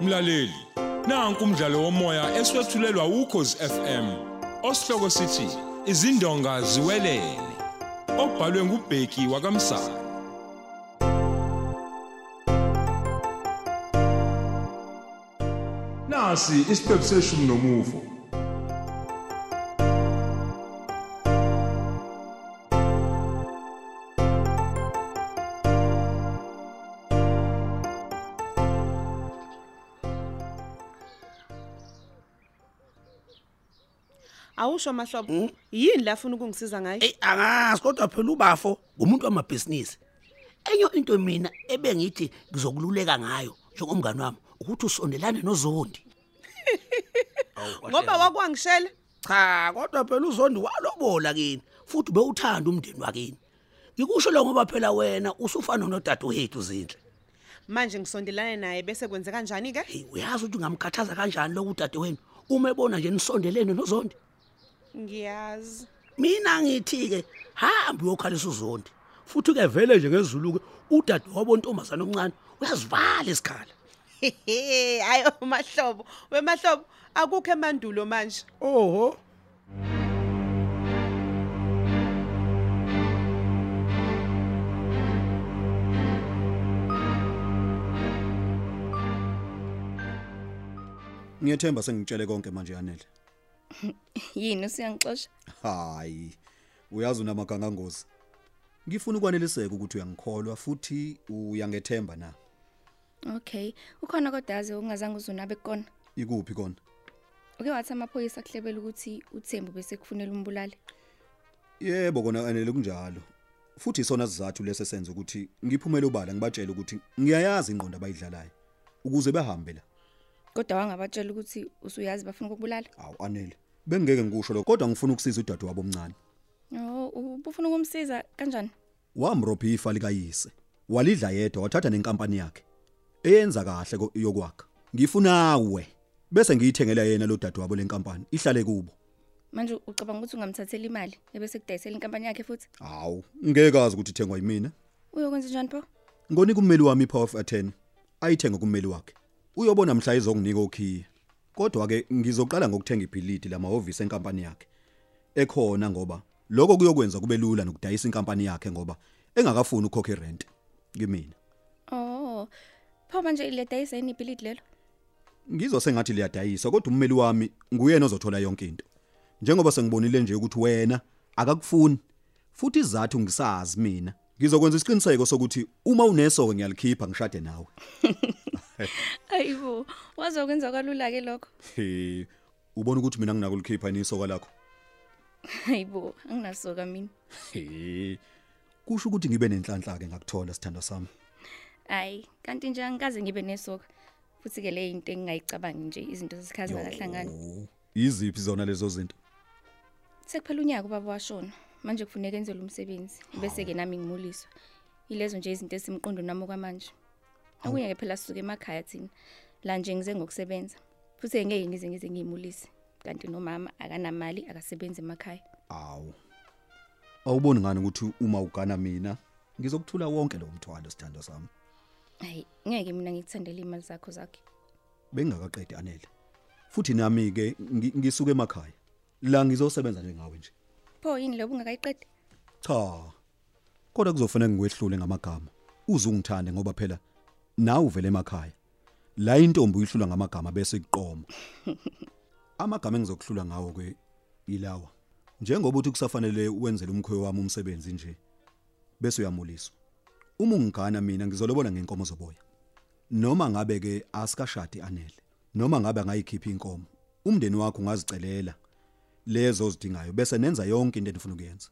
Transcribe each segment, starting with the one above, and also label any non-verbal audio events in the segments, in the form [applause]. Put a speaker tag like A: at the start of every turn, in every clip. A: mlaleli nanku umdlalo womoya eswetshulelwa ukhozi FM osihloko sithi izindonga ziwelele obhalwe ngubheki wakamsana nasi isiphepho seshumi nomuvo
B: awusho mahlobo yini la afuna ukungisiza ngayo
C: Ey angazi kodwa phela ubafo ngumuntu wamabhizinisi. Enye into mina ebengithi ngizokululeka ngayo njengomngani wami ukuthi usondelane noZondi.
B: ngoba wakwangishela
C: cha kodwa phela uZondi walobola kini futhi bewuthanda umndeni wakini. Ngikusho lo ngoba phela wena usufana nodadewethu zinhle.
B: manje ngisondelane naye bese kwenze kanjani ke
C: Hey uyazi ukuthi ungamkhathaza kanjani lo udadewenu uma ebona nje nisondelene noZondi.
B: ngiyazi
C: mina ngithi ke hamba uyokhalisa uzondi futhi ke vele nje ngezulu ke udade wabontombazana omncane uyazivala isikhala
B: hayo mahlobo wemahlobo akukho emandulo manje
C: oho
D: Ngiyethemba sengitshele konke manje yanele.
E: yini usiyangixosha
D: Hayi. Uyazi unamagangangozi. Ngifuna ukwaneliseka ukuthi uyangikholwa futhi uyangethemba na.
E: okay ukhona kodwa aze ungazange uzunabe kukona
D: Ikuphi kona?
E: uke wathi amaphoyisa akuhlebela ukuthi uthembu bese kufunela umbulale
D: Yebo kona yanele kunjalo. Futhi isona sizathu lesi senza ukuthi ngiphumele ubala ngibatshele ukuthi ngiyayazi ingqondo abayidlalayo ukuze behambe la.
E: kodwa wangabatshela ukuthi usuyazi bafuna ukubulala
D: Awu anele. Bengeke ngikusho lokho kodwa ngifuna ukusiza udade wabo omncane.
E: oh ubufuna ukumsiza kanjani
D: Wamrobha ifa likayise. Walidla yedwa wathatha nenkampani yakhe. Eyenza kahle ko- yokwakha. Ngifuna we. Bese ngiyithengela yena lo dadu wabo lenkampani ihlale kubo.
E: manje ucabanga ukuthi ungamthathela imali ebese kudayisela inkampani yakhe futhi
D: Hawu, ngeke azi ukuthi ithengwa yimina.
E: uyokwenza njani pho
D: Ngonika ummeli wami ipower of attorney. Ayithenge kummeli wakhe. Uyobona mhla izokunika okhiye. Kodwa ke ngizoqala ngokuthenga ibhilidi lamahhovisi enkampani yakhe. Ekhona ngoba lokho kuyokwenza kube lula nokudayisa inkampani yakhe ngoba engakafuni ukukhokha irent kimi.
E: oh pho manje ledayisa yini ibhilidi lelo
D: Ngizwa sengathi liyadayisa kodwa ummeli wami nguyena ozothola yonke into. Njengoba sengibonile nje ukuthi wena akakufuni futhi izathu ngisazi mina. Ngizokwenza isiqiniseko sokuthi uma uneso ngiyalikhipha ngishade nawe.
E: ayibo wazokwenza kwalula-ke lokho
D: He, ubona ukuthi mina nginakulikhipha inisoka lakho.
E: ayibo anginasoka mina
D: He. Kusho ukuthi ngibe nenhlanhla ke ngakuthola sithando sami.
E: hayi kanti nje angikaze ngibe nesoka futhi-ke le yinto engingayicabangi nje izinto zesikhathi zakahlangana
D: Yo, Yiziphi zona lezo zinto?
E: sekuphela unyaka ubaba washona manje kufuneka enzelwe umsebenzi bese-ke nami ngimuliswa yilezo nje izinto esimqondo nami okwamanje okunye-ke phela sisuke emakhaya thina la nje ngize ngokusebenza futhi-ke ngeke ngize ngize ngiyimulise kanti nomama akanamali akasebenzi emakhaya
D: Awu. Awuboni ngani ukuthi uma ugana mina ngizokuthula wonke lo mthwalo sithando sami.
E: hayi ngeke mina ngikuthandele imali zakho zakhe
D: bengakaqedi anele futhi nami ke ngi- ngisuka emakhaya la ngizosebenza njengawe nje
E: pho yini lobo ungakayiqedi
D: cha kodwa kuzofanele ngikwehlule ngamagama uze ungithande ngoba phela nawe uvele emakhaya la intombi uyihlula ngamagama bese iqoma amagama engizokuhlula ngawo ke ilawa njengoba uthi kusafanele uwenzele umkhwe wami umsebenzi nje bese uyamuliswa uma ungigana mina ngizolobona ngenkomo zoboya noma ngabe ke asikashadi anele noma ngabe angayikhipha inkomo umndeni wakho ungazicelela lezo zidingayo bese nenza yonke into enifuna ukuyenza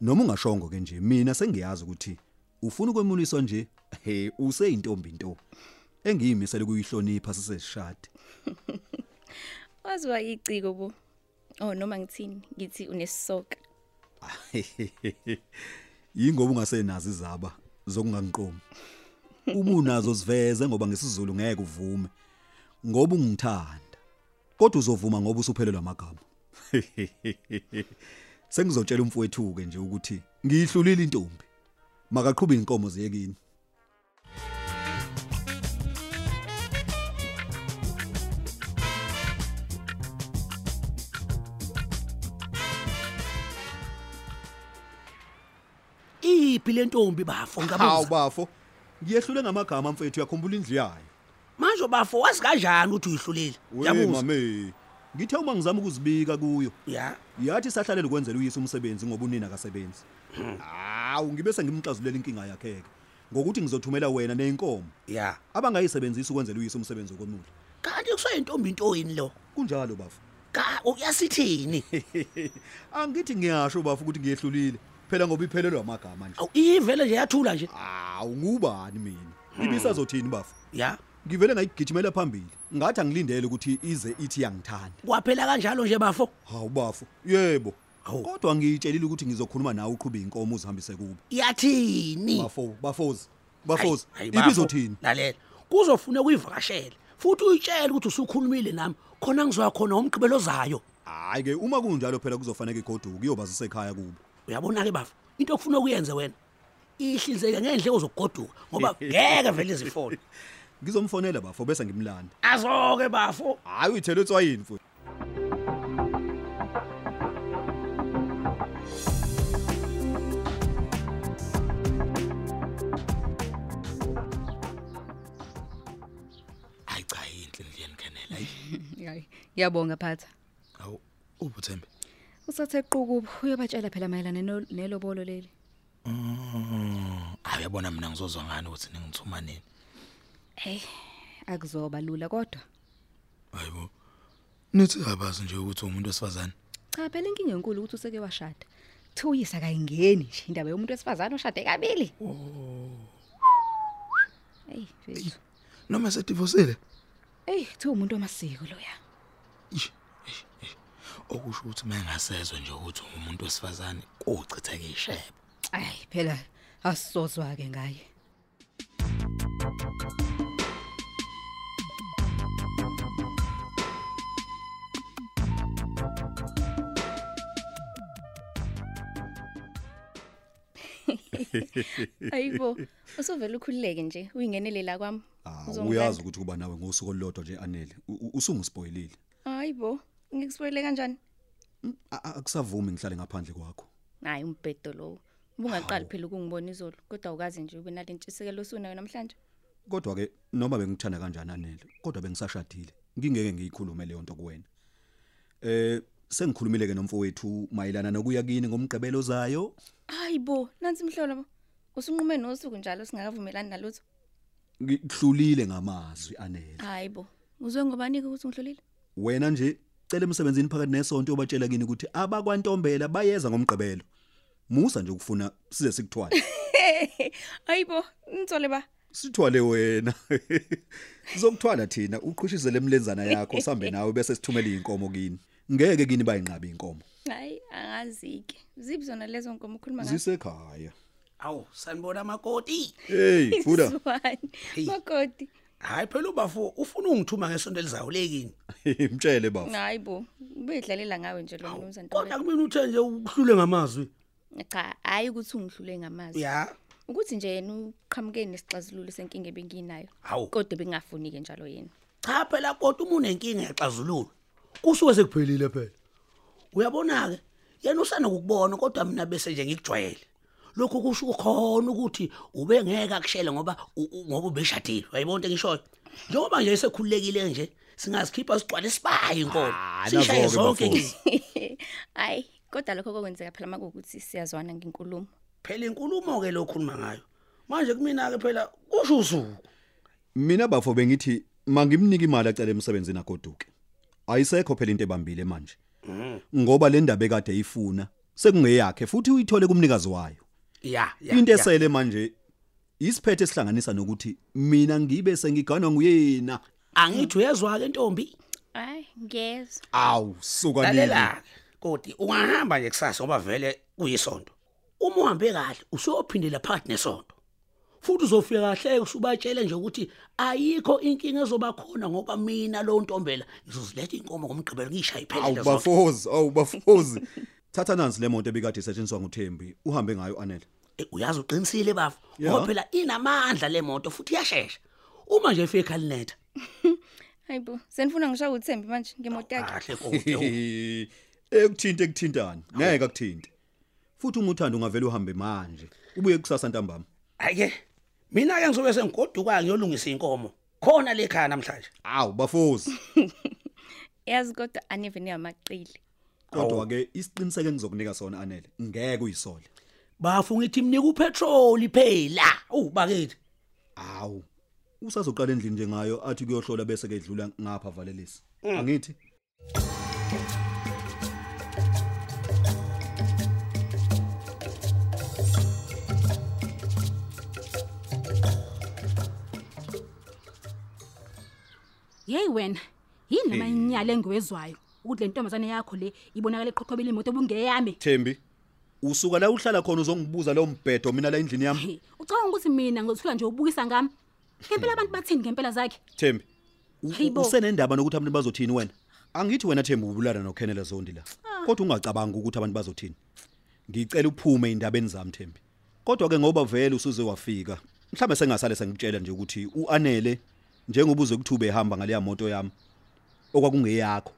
D: noma ungashongo ke nje mina sengiyazi ukuthi ufuna ukwemuliswa nje he useyintombi into engiyimisela ukuyihlonipha siseshade
E: waziwa iciko bo oh noma ngithini ngithi unesisoka
D: yingoba ungasenazi izaba zokungangiqomi uma unazo siveze ngoba ngesizulu ngeke uvume ngoba ungithanda kodwa uzovuma ngoba usuphelelwa amagama [laughs] sengizotshela umfowethu ke nje ukuthi ngiyihlulile intombi makaqhubhe inkomo ziyekini
C: iyiphi le ntombi bafo
D: hawu
C: ngabuza
D: bafo ngiyehlule ngamagama mfethu uyakhumbula indlu yayo
C: manje bafo wazi kanjani ukuthi uyihlulile
D: we mame ngithe uma ngizama ukuzibika kuyo
C: ya
D: yathi sahlalele ukwenzela uyise umsebenzi ngoba unina akasebenzi hawu ngibe sengimxazulela inkinga yakhe-ke ngokuthi ngizothumela wena neyinkomo [laughs]
C: ya
D: abangayisebenzisi ukwenzela uyise umsebenzi wokonula
C: kanti kuseyintombi into yini lo
D: kunjalo bafo
C: ka uyasithini
D: [laughs] angithi ngiyasho bafo ukuthi ngiyehlulile phela ngoba iphelelwe amagama nje
C: awu ivele nje yathula nje
D: hawu ngubani mina ibisazothini bafo
C: ya
D: ngivele ngayigijimela phambili ngathi angilindele ukuthi ize ithi yangithanda
C: kwaphela kanjalo nje bafo
D: hawu bafo yebo
C: Hawu.
D: kodwa ngiyitshelile ukuthi ngizokhuluma nawe uqhube inkomo uzihambise kubo
C: yathini
D: bafo bafozi bafozi
C: Hayi, hayi bafo,
D: ibizothini
C: lalela kuzofuneka uyivakashele futhi uyitshele ukuthi usukhulumile nami khona ngizoya khona umgqibelo zayo
D: hayi ke uma kunjalo phela kuzofanele igoduka iyobazisa ekhaya kubo
C: uyabona ke bafo into okufuna ukuyenze wena ihlinzeke ngendleko zokugoduka
F: [laughs]
C: ngoba ngeke vele izifone
D: ngizomfonela bafo bese ngimlanda
C: azoke bafo
D: hayi uyithele etswayini futhi
F: hayi cha inhle le yenikenela hayi
E: Hayi, ngiyabonga phatha.
F: awu ubuthembe
E: Usathe qukubo uyobatshela phela mayelana nelo- nelobolo leli.
F: Mm, hayi uyabona mina ngizozwa ngani ukuthi ningithuma nini
E: Hey, akuzoba lula kodwa.
F: hayibo nithi abazi nje ukuthi umuntu wesifazane
E: Cha phela inkinga enkulu ukuthi useke washada. Thuyisa kayingeni nje indaba yomuntu wesifazane oshade kabili. Hey, mfethu.
F: noma sedivosile
E: Hey, thi umuntu wamasiko loya.
F: Ish, ish, ish. okusho ukuthi mangasezwe nje ukuthi umuntu wesifazane kuchitheke ishebe
E: Ay, phela asizozwa ke [laughs] ngaye. Ayibo, usuvela ukhululeke nje, uyingenele la kwami.
D: Ah,
E: Uzongilanda.
D: uyazi ukuthi kuba nawe ngosuku olulodwa nje anele U- u- usungispoyilile
E: Hayibo, ngikusoyile kanjani?
D: Hmm? A- a- akusavumi ngihlale ngaphandle kwakho
E: Hayi umbhedo lo. Ubungaqali phela ukungibona izolo, kodwa ukazi nje ube nalentshisekelo osunayo namhlanje.
D: kodwa-ke noma bengithanda kanjani anele kodwa bengisashadile ngingeke ngiyikhulume leyo nto kuwena um sengikhulumile-ke nomfowethu mayelana nokuya kini ngomgqibelo zayo
E: Hayibo, nansi imhlolo. Usunqume nosuku njalo singakavumelani nalutho.
D: ngikuhlulile ngamazwi anele
E: Hayibo, uzwe ngobanike ukuthi [laughs] ngihlolile?
D: wena nje cela emsebenzini phakathi nesonto yobatshela kini ukuthi abakwantombela bayeza ngomgqibelo musa nje ukufuna size sikuthwale
E: Hayibo, ntsole ba.
D: sithwale wena [laughs] sizokuthwala thina uqhushisele emlenzana yakho sambe nawe bese sithumela iy'nkomo kini ngeke kini bayinqabe iy'nkomo
E: Hayi, angazike. Zibizona lezo nkomo ukhuluma ngazo.
D: zisekhaya
C: awu sanibona makoti
D: Hey,
E: [laughs]
D: Buda.
E: Isizwana. Makoti.
C: hayi phela ubafo ufuna ungithuma ngesonto elizawulekini
D: Imtshele bafo.
E: Hayibo, ubedlalela ngawe nje lo mnumzane.
C: kodwa kumina uthe nje ukuhlule ngamazwi
E: Ntobela. Cha, hayi ukuthi ungihlule ngamazwi.
C: ya
E: Ukuthi nje yena uqhamukeni nesixazululo senkinga ebenginayo.
C: Hawu.
E: Kodwa bengafuni ke njalo yena. [laughs]
C: cha phela kodwa uma unenkinga yaxazulula kusuke sekuphelile phela uyabona-ke yena usanda kukubona kodwa mina bese nje ngikujwayele lokhu kusho khona ukuthi ube ngeke akushele ngoba u- u- ngoba ubeshadile wayibona into engishoyo njengoba nje esekhululekile nje singazikhipha sigcwale sibaye inkolo
D: Ah,
C: sishaye
D: nazo-ke
C: zonke
D: bafozi.
C: ngizi
E: Hayi, kodwa lokho kokwenzeka phela makuwukuthi siyazwana ngenkulumo.
C: phela inkulumo-ke lo khuluma ngayo manje kumina-ke phela kusho usuku
D: Mina bafo bengithi mangimnike imali acela emsebenzini agoduke. Ayisekho phela into ebambile manje.
C: Mm.
D: Ngoba le ndaba ekade eyifuna sekungeyakhe futhi uyithole kumnikazi wayo.
C: ya ya,
D: Into
C: ya.
D: esele manje isiphethe esihlanganisa nokuthi mina ngibe sengiganwa nguyena.
C: angithi uyezwa-ke ntombi
E: Hayi, ngezwe.
D: Awu suka nini.
C: lalela-ke kodi ungahamba nje kusasa ngoba vele kuyisonto uma uhambe kahle usuyophindela phakathi nesonto futhi uzofika kahle usubatshele nje ukuthi ayikho inkinga ezoba khona ngoba mina lowo ntombela ngizoziletha inkomo ngomgqibelo ngiyishaye
D: Awu
C: phelele
D: bafozi, awu
C: [laughs]
D: bafozi. Thatha nansi le moto ebikade isetshenziswa nguThembi uhambe ngayo anele.
C: Eh, uyazi uqinisile bafo
D: Ya.
C: ngoba phela inamandla le moto futhi iyashesha uma nje ifika ekhalinetha
E: Hayibo, senifuna ngisho uthembi
C: Ah.
E: manje ngemotaki.
D: [laughs]
C: kahle kodwa
D: Eh, ekuthinte ekuthintana ngeke akuthinte futhi unguthando ungavela uhambe manje ubuye kusasa ntambama
C: Ayike. Mina ke ngizobe sengigoduka ngiyolungisa inkomo. Khona lekhaya namhlanje.
D: awu bafozi
E: Yazi kodwa aneve niyamaqili.
D: kodwa ke isiqiniseke ngizokunika sona anele ngeke uyisole
C: Bafunga ithi mnika upetrol iphela. Ubakithi.
D: awu usazoqala endlini njengayo athi kuyohlola bese ke edlula ngapha valelisi angithi
G: Hey wena, yini lamanyala engiwezwayo ukuthi le ntombazane yakho le ibonakala eqhoqhobela imoto obungeyami.
D: Thembi usuka la uhlala khona uzongibuza lo mbhedo mina la endlini yami
G: He, Ucabanga ukuthi mina ngizothuka nje ubukisa ngami? Ngempela abantu bathini ngempela zakhe?
D: Thembi u-
G: Hey bo.
D: usenendaba nokuthi abantu bazothini wena angithi wena Thembi ubulala noKhenela Zondi la kodwa ungacabanga ukuthi abantu bazothini ngicela uphume indabeni zami Thembi kodwa ke ngoba vele usuze wafika mhlambe sengasale sengitshela nje ukuthi uanele njengoba uze kuthube ehamba ngale moto yami okwakungeyakho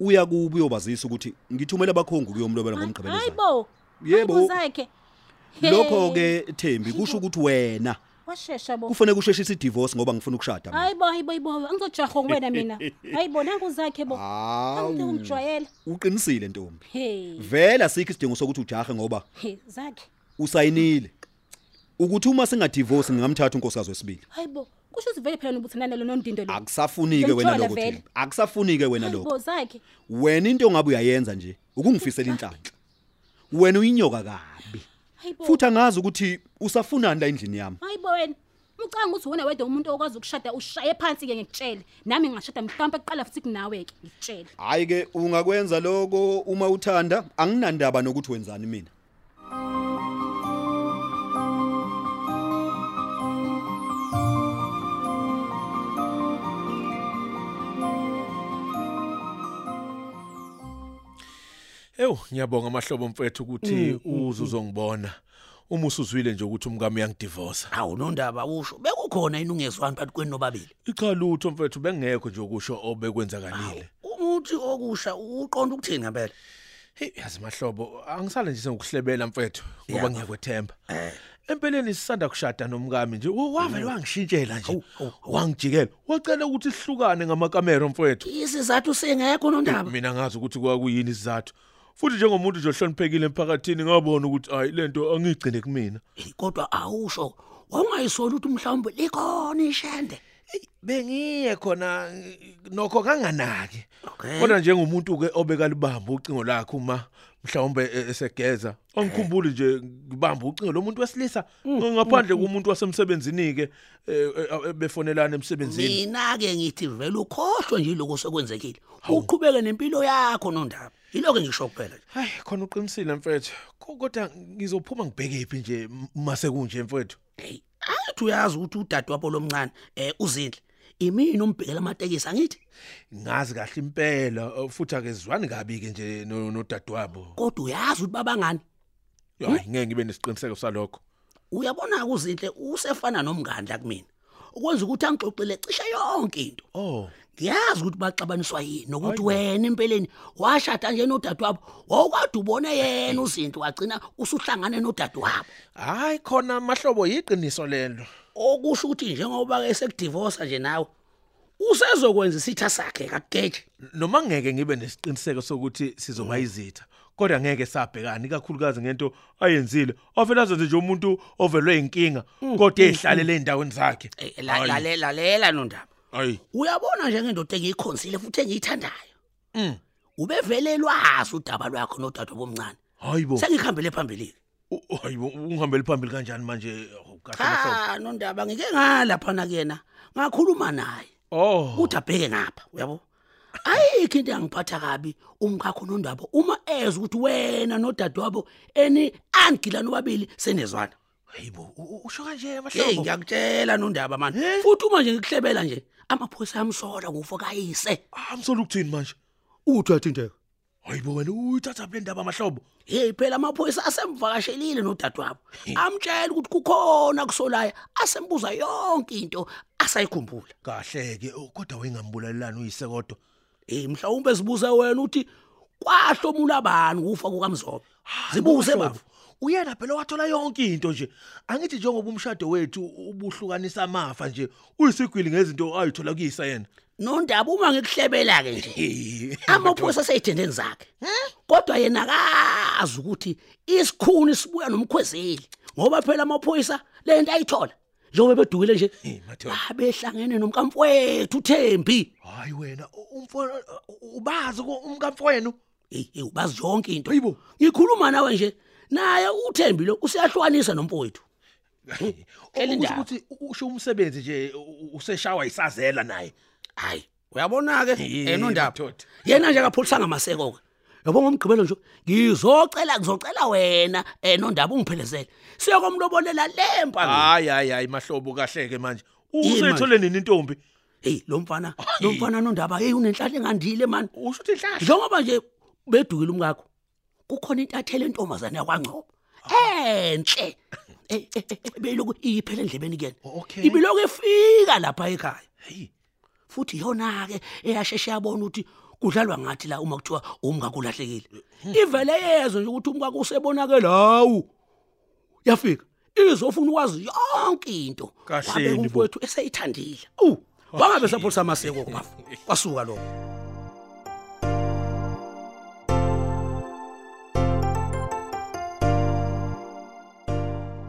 D: uya kubi uyobazisa ukuthi ngithumele abakhongi kuyomlobela ngomgqibelo
G: Hayibo.
D: Yebo.
G: Zakhe.
D: lokho ke Thembi kusho ukuthi wena
G: washesha bo.
D: kufanele kusheshise idivorce ngoba ngifuna ukushada mina
G: Hayibo, hayibo, hayibo. Angizojaha
D: [laughs]
G: ngwena mina. Hayibo nangu zakhe bo. Angithe
D: Hawu.
G: ungijwayela.
D: Uqinisile ntombi.
G: Hey.
D: Vela sikho isidingo sokuthi ujahe ngoba
G: He, zakhe.
D: usayinile. Ukuthi uma singadivorce ngingamthatha unkosikazi wesibili.
G: Hayibo. Kusho ukuthi vele phela nobuthanana lo nondindo lo.
D: Akusafunike wena
G: Ngimthola
D: lokho
G: vele.
D: Thembi. Akusafunike wena
G: Hayibo
D: lokho.
G: zakhe.
D: Wena into ongabe uyayenza nje ukungifisela inhlanhla. Wena uyinyoka kabi.
G: Hayibo.
D: Futhi angazi ukuthi usafunani la endlini yami.
G: Hayibo wena. Ucanga ukuthi wena wedwa umuntu okwazi ukushada ushaye phansi ke ngikutshele. Nami ngingashada mhlawumbe kuqala futhi kunawe ke ngikutshele.
D: Hayi ke ungakwenza lokho uma uthanda anginandaba nokuthi wenzani mina.
H: Ewu ngiyabonga amahlobo mfethu
C: Mm,
H: ukuthi uzuzongibona. Uma usuzwile nje ukuthi umkami uyangidivorce.
C: Awu nondaba usho. Bekukhona inungezwano phakathi kwenu nobabili.
H: Icha lutho mfethu bengekho nje ukusho obekwenzakalile.
C: Umuthi okusha uqonda ukuthini ngempela?
H: Hey yazi mahlobo angisale nje ngokuhlebela mfethu ngoba
C: Yabo.
H: ngiyakwethemba. Empeleni sisanda kushada nomkami nje u- wavele wangishintshela nje
C: Mm. hawu,
H: wangijikela wacela ukuthi sihlukane ngamakamera mfethu.
C: Isizathu singekho nondaba.
H: Mina ngazi ukuthi kwakuyini isizathu. Futhi njengomuntu nje ohloniphekile emphakathini ngabona ukuthi hayi lento angigcine kumina.
C: Hey, Kodwa awusho. Wawungayisoli ukuthi mhlawumbe likhona ishende.
H: bengiye khona eh, nokho kanganaki
C: Okay.
H: kodwa njengomuntu ke obeka libamba ucingo lakhe uma mhlawumbe e- esegeza angikhumbuli nje ngibamba ucingo lomuntu wesilisa ngaphandle kumuntu wasemsebenzini ke eh, befonelana emsebenzini
C: Mina ke ngithi vele ukhohlwe nje lokho sekwenzekile. Uqhubeke nempilo yakho nondaba. Yiloko ngisho kuphela nje.
H: hayi khona uqinisile mfethu Ko- kodwa ngizophuma ngibheke phi nje mase kunje mfethu
C: Hey, athi uyazi ukuthi udadewabo lomncane eh uzindle. Imini umbhekela amatekisi angithi.
H: ngazi kahle impela eh, futhi akezwani kabi ke nje no- nodadewabo
C: Kodwa uyazi ukuthi babangani.
H: hayi ngeke ngibe nesiqiniseko salokho
C: Uyabona kuzinhle usefana nomngandla kumina. Ukwenza ukuthi angixoxele cishe yonke into.
H: oh
C: ngiyazi ukuthi baxabaniswa yini nokuthi wena empeleni washada nje nodadewabo wawukade ubone yena uzinto wagcina usuhlangane nodadewabo
H: hayi khona mahlobo yiqiniso lelo
C: okusho ukuthi njengoba ke sekudivorsa nje nawe usezokwenza isitha sakhe kageje
H: noma ngeke ngibe nesiqiniseko sokuthi
C: Mm.
H: sizoba izitha kodwa ngeke sabhekani kakhulukazi ngento ayenzile ovela azenze nje umuntu ovelwe inkinga
C: Mm,
H: kodwa ehlalele endaweni zakhe
C: Eh, lalela lalela nondaba
H: ayi
C: uyabona nje ngendoda engiyikhonzile futhi engiyithandayo
H: Mm.
C: ubevele lwazi udaba lwakho nodadewabo omncane Oh.
H: hayibo
C: sengihambele phambili
H: U- hayibo ungihambele phambili kanjani manje Oh, kahle mahlobo
C: cha nondaba ngike ngalaphana kuyena ngakhuluma naye
H: oh
C: ukuthi abheke ngapha uyabo ayikho into engiphatha kabi umkhakho nondaba uma eza ukuthi wena nodadewabo eni angila nobabili senezwana
H: hayibo u- u- usho kanje
C: hey
H: mahlobo
C: ngiyakutshela nondaba mani futhi uma nje ngikuhlebela nje amaphoyisa amsola ngufo kayise
H: amsola Ah, ukuthini manje
C: uthi athinteka
H: hayibo wena uyithatha kule ndaba mahlobo
C: hey phela amaphoyisa asemvakashelile nodadewabo amtshela ukuthi kukhona kusolaya asembuza yonke into asayikhumbula
H: kahle ke kodwa wayingambulalelani oh, uyise kodwa
C: hey mhlawumbe sibuza Eh, wena uthi kwahlomula bani kufa kukamzobe zibuze baba
H: uyena phela wathola yonke into nje angithi njengoba umshado wethu ubuhlukanisa amafa nje uyisigwili ngezinto ayithola kuyisayena
C: nondaba uma ngikuhlebela ke
H: Eh.
C: nje amaphoyisa aseyithendeni zakhe kodwa yena akazi ukuthi isikhuni sibuya nomkhwezeli ngoba phela amaphoyisa le nto ayithola njengoba bedukile nje
H: Hey, Matheba.
C: abehlangene nomkamfowethu Thembi
H: hayi wena u- umfo ubazi ko- umkamfowenu
C: hey hey ubazi yonke into
H: Yibo.
C: ngikhuluma nawe nje naye uThembi lo usiyahlukanisa nomfowethu Hlela
H: okusho
C: indaba.
H: ukuthi usho umsebenzi nje u- u- useshawa isazela naye
C: hayi uyabona ke
H: Yebo,
C: enondaba
H: Thodi.
C: yena nje akapholisanga maseko ke yabo ngomgqibelo nje ngizocela ngizocela wena enondaba ungiphelezele siya komlobolela lempa
H: hayi hayi hayi mahlobo kahleke manje
C: Yini manje?
H: usethole nini intombi
C: hey lo mfana lo mfana nondaba hey unenhlahla engandile man
H: usho ukuthi inhlahla
C: njengoba nje bedukile umkakho kukhona intathele entombazane yakwancobo
H: Oh.
C: enhle Eh, eh, eh, beyiloku iyiphele endlebeni kuyena
H: Oh, Okay.
C: ibiloku ifika lapha ekhaya
H: Hey.
C: futhi yona-ke eyasheshe yabona ukuthi kudlalwa ngathi la uma kuthiwa umkakho ulahlekile
H: Hmm.
C: ivele yezwe nje ukuthi umkakho usebonakele hawu yafika izofuna ukwazi yonke into
H: Kahleni
C: Wabeka
H: bo.
C: umfowethu eseyithandile u wangabe sapholisa amaseko kwafu kwasuka lokho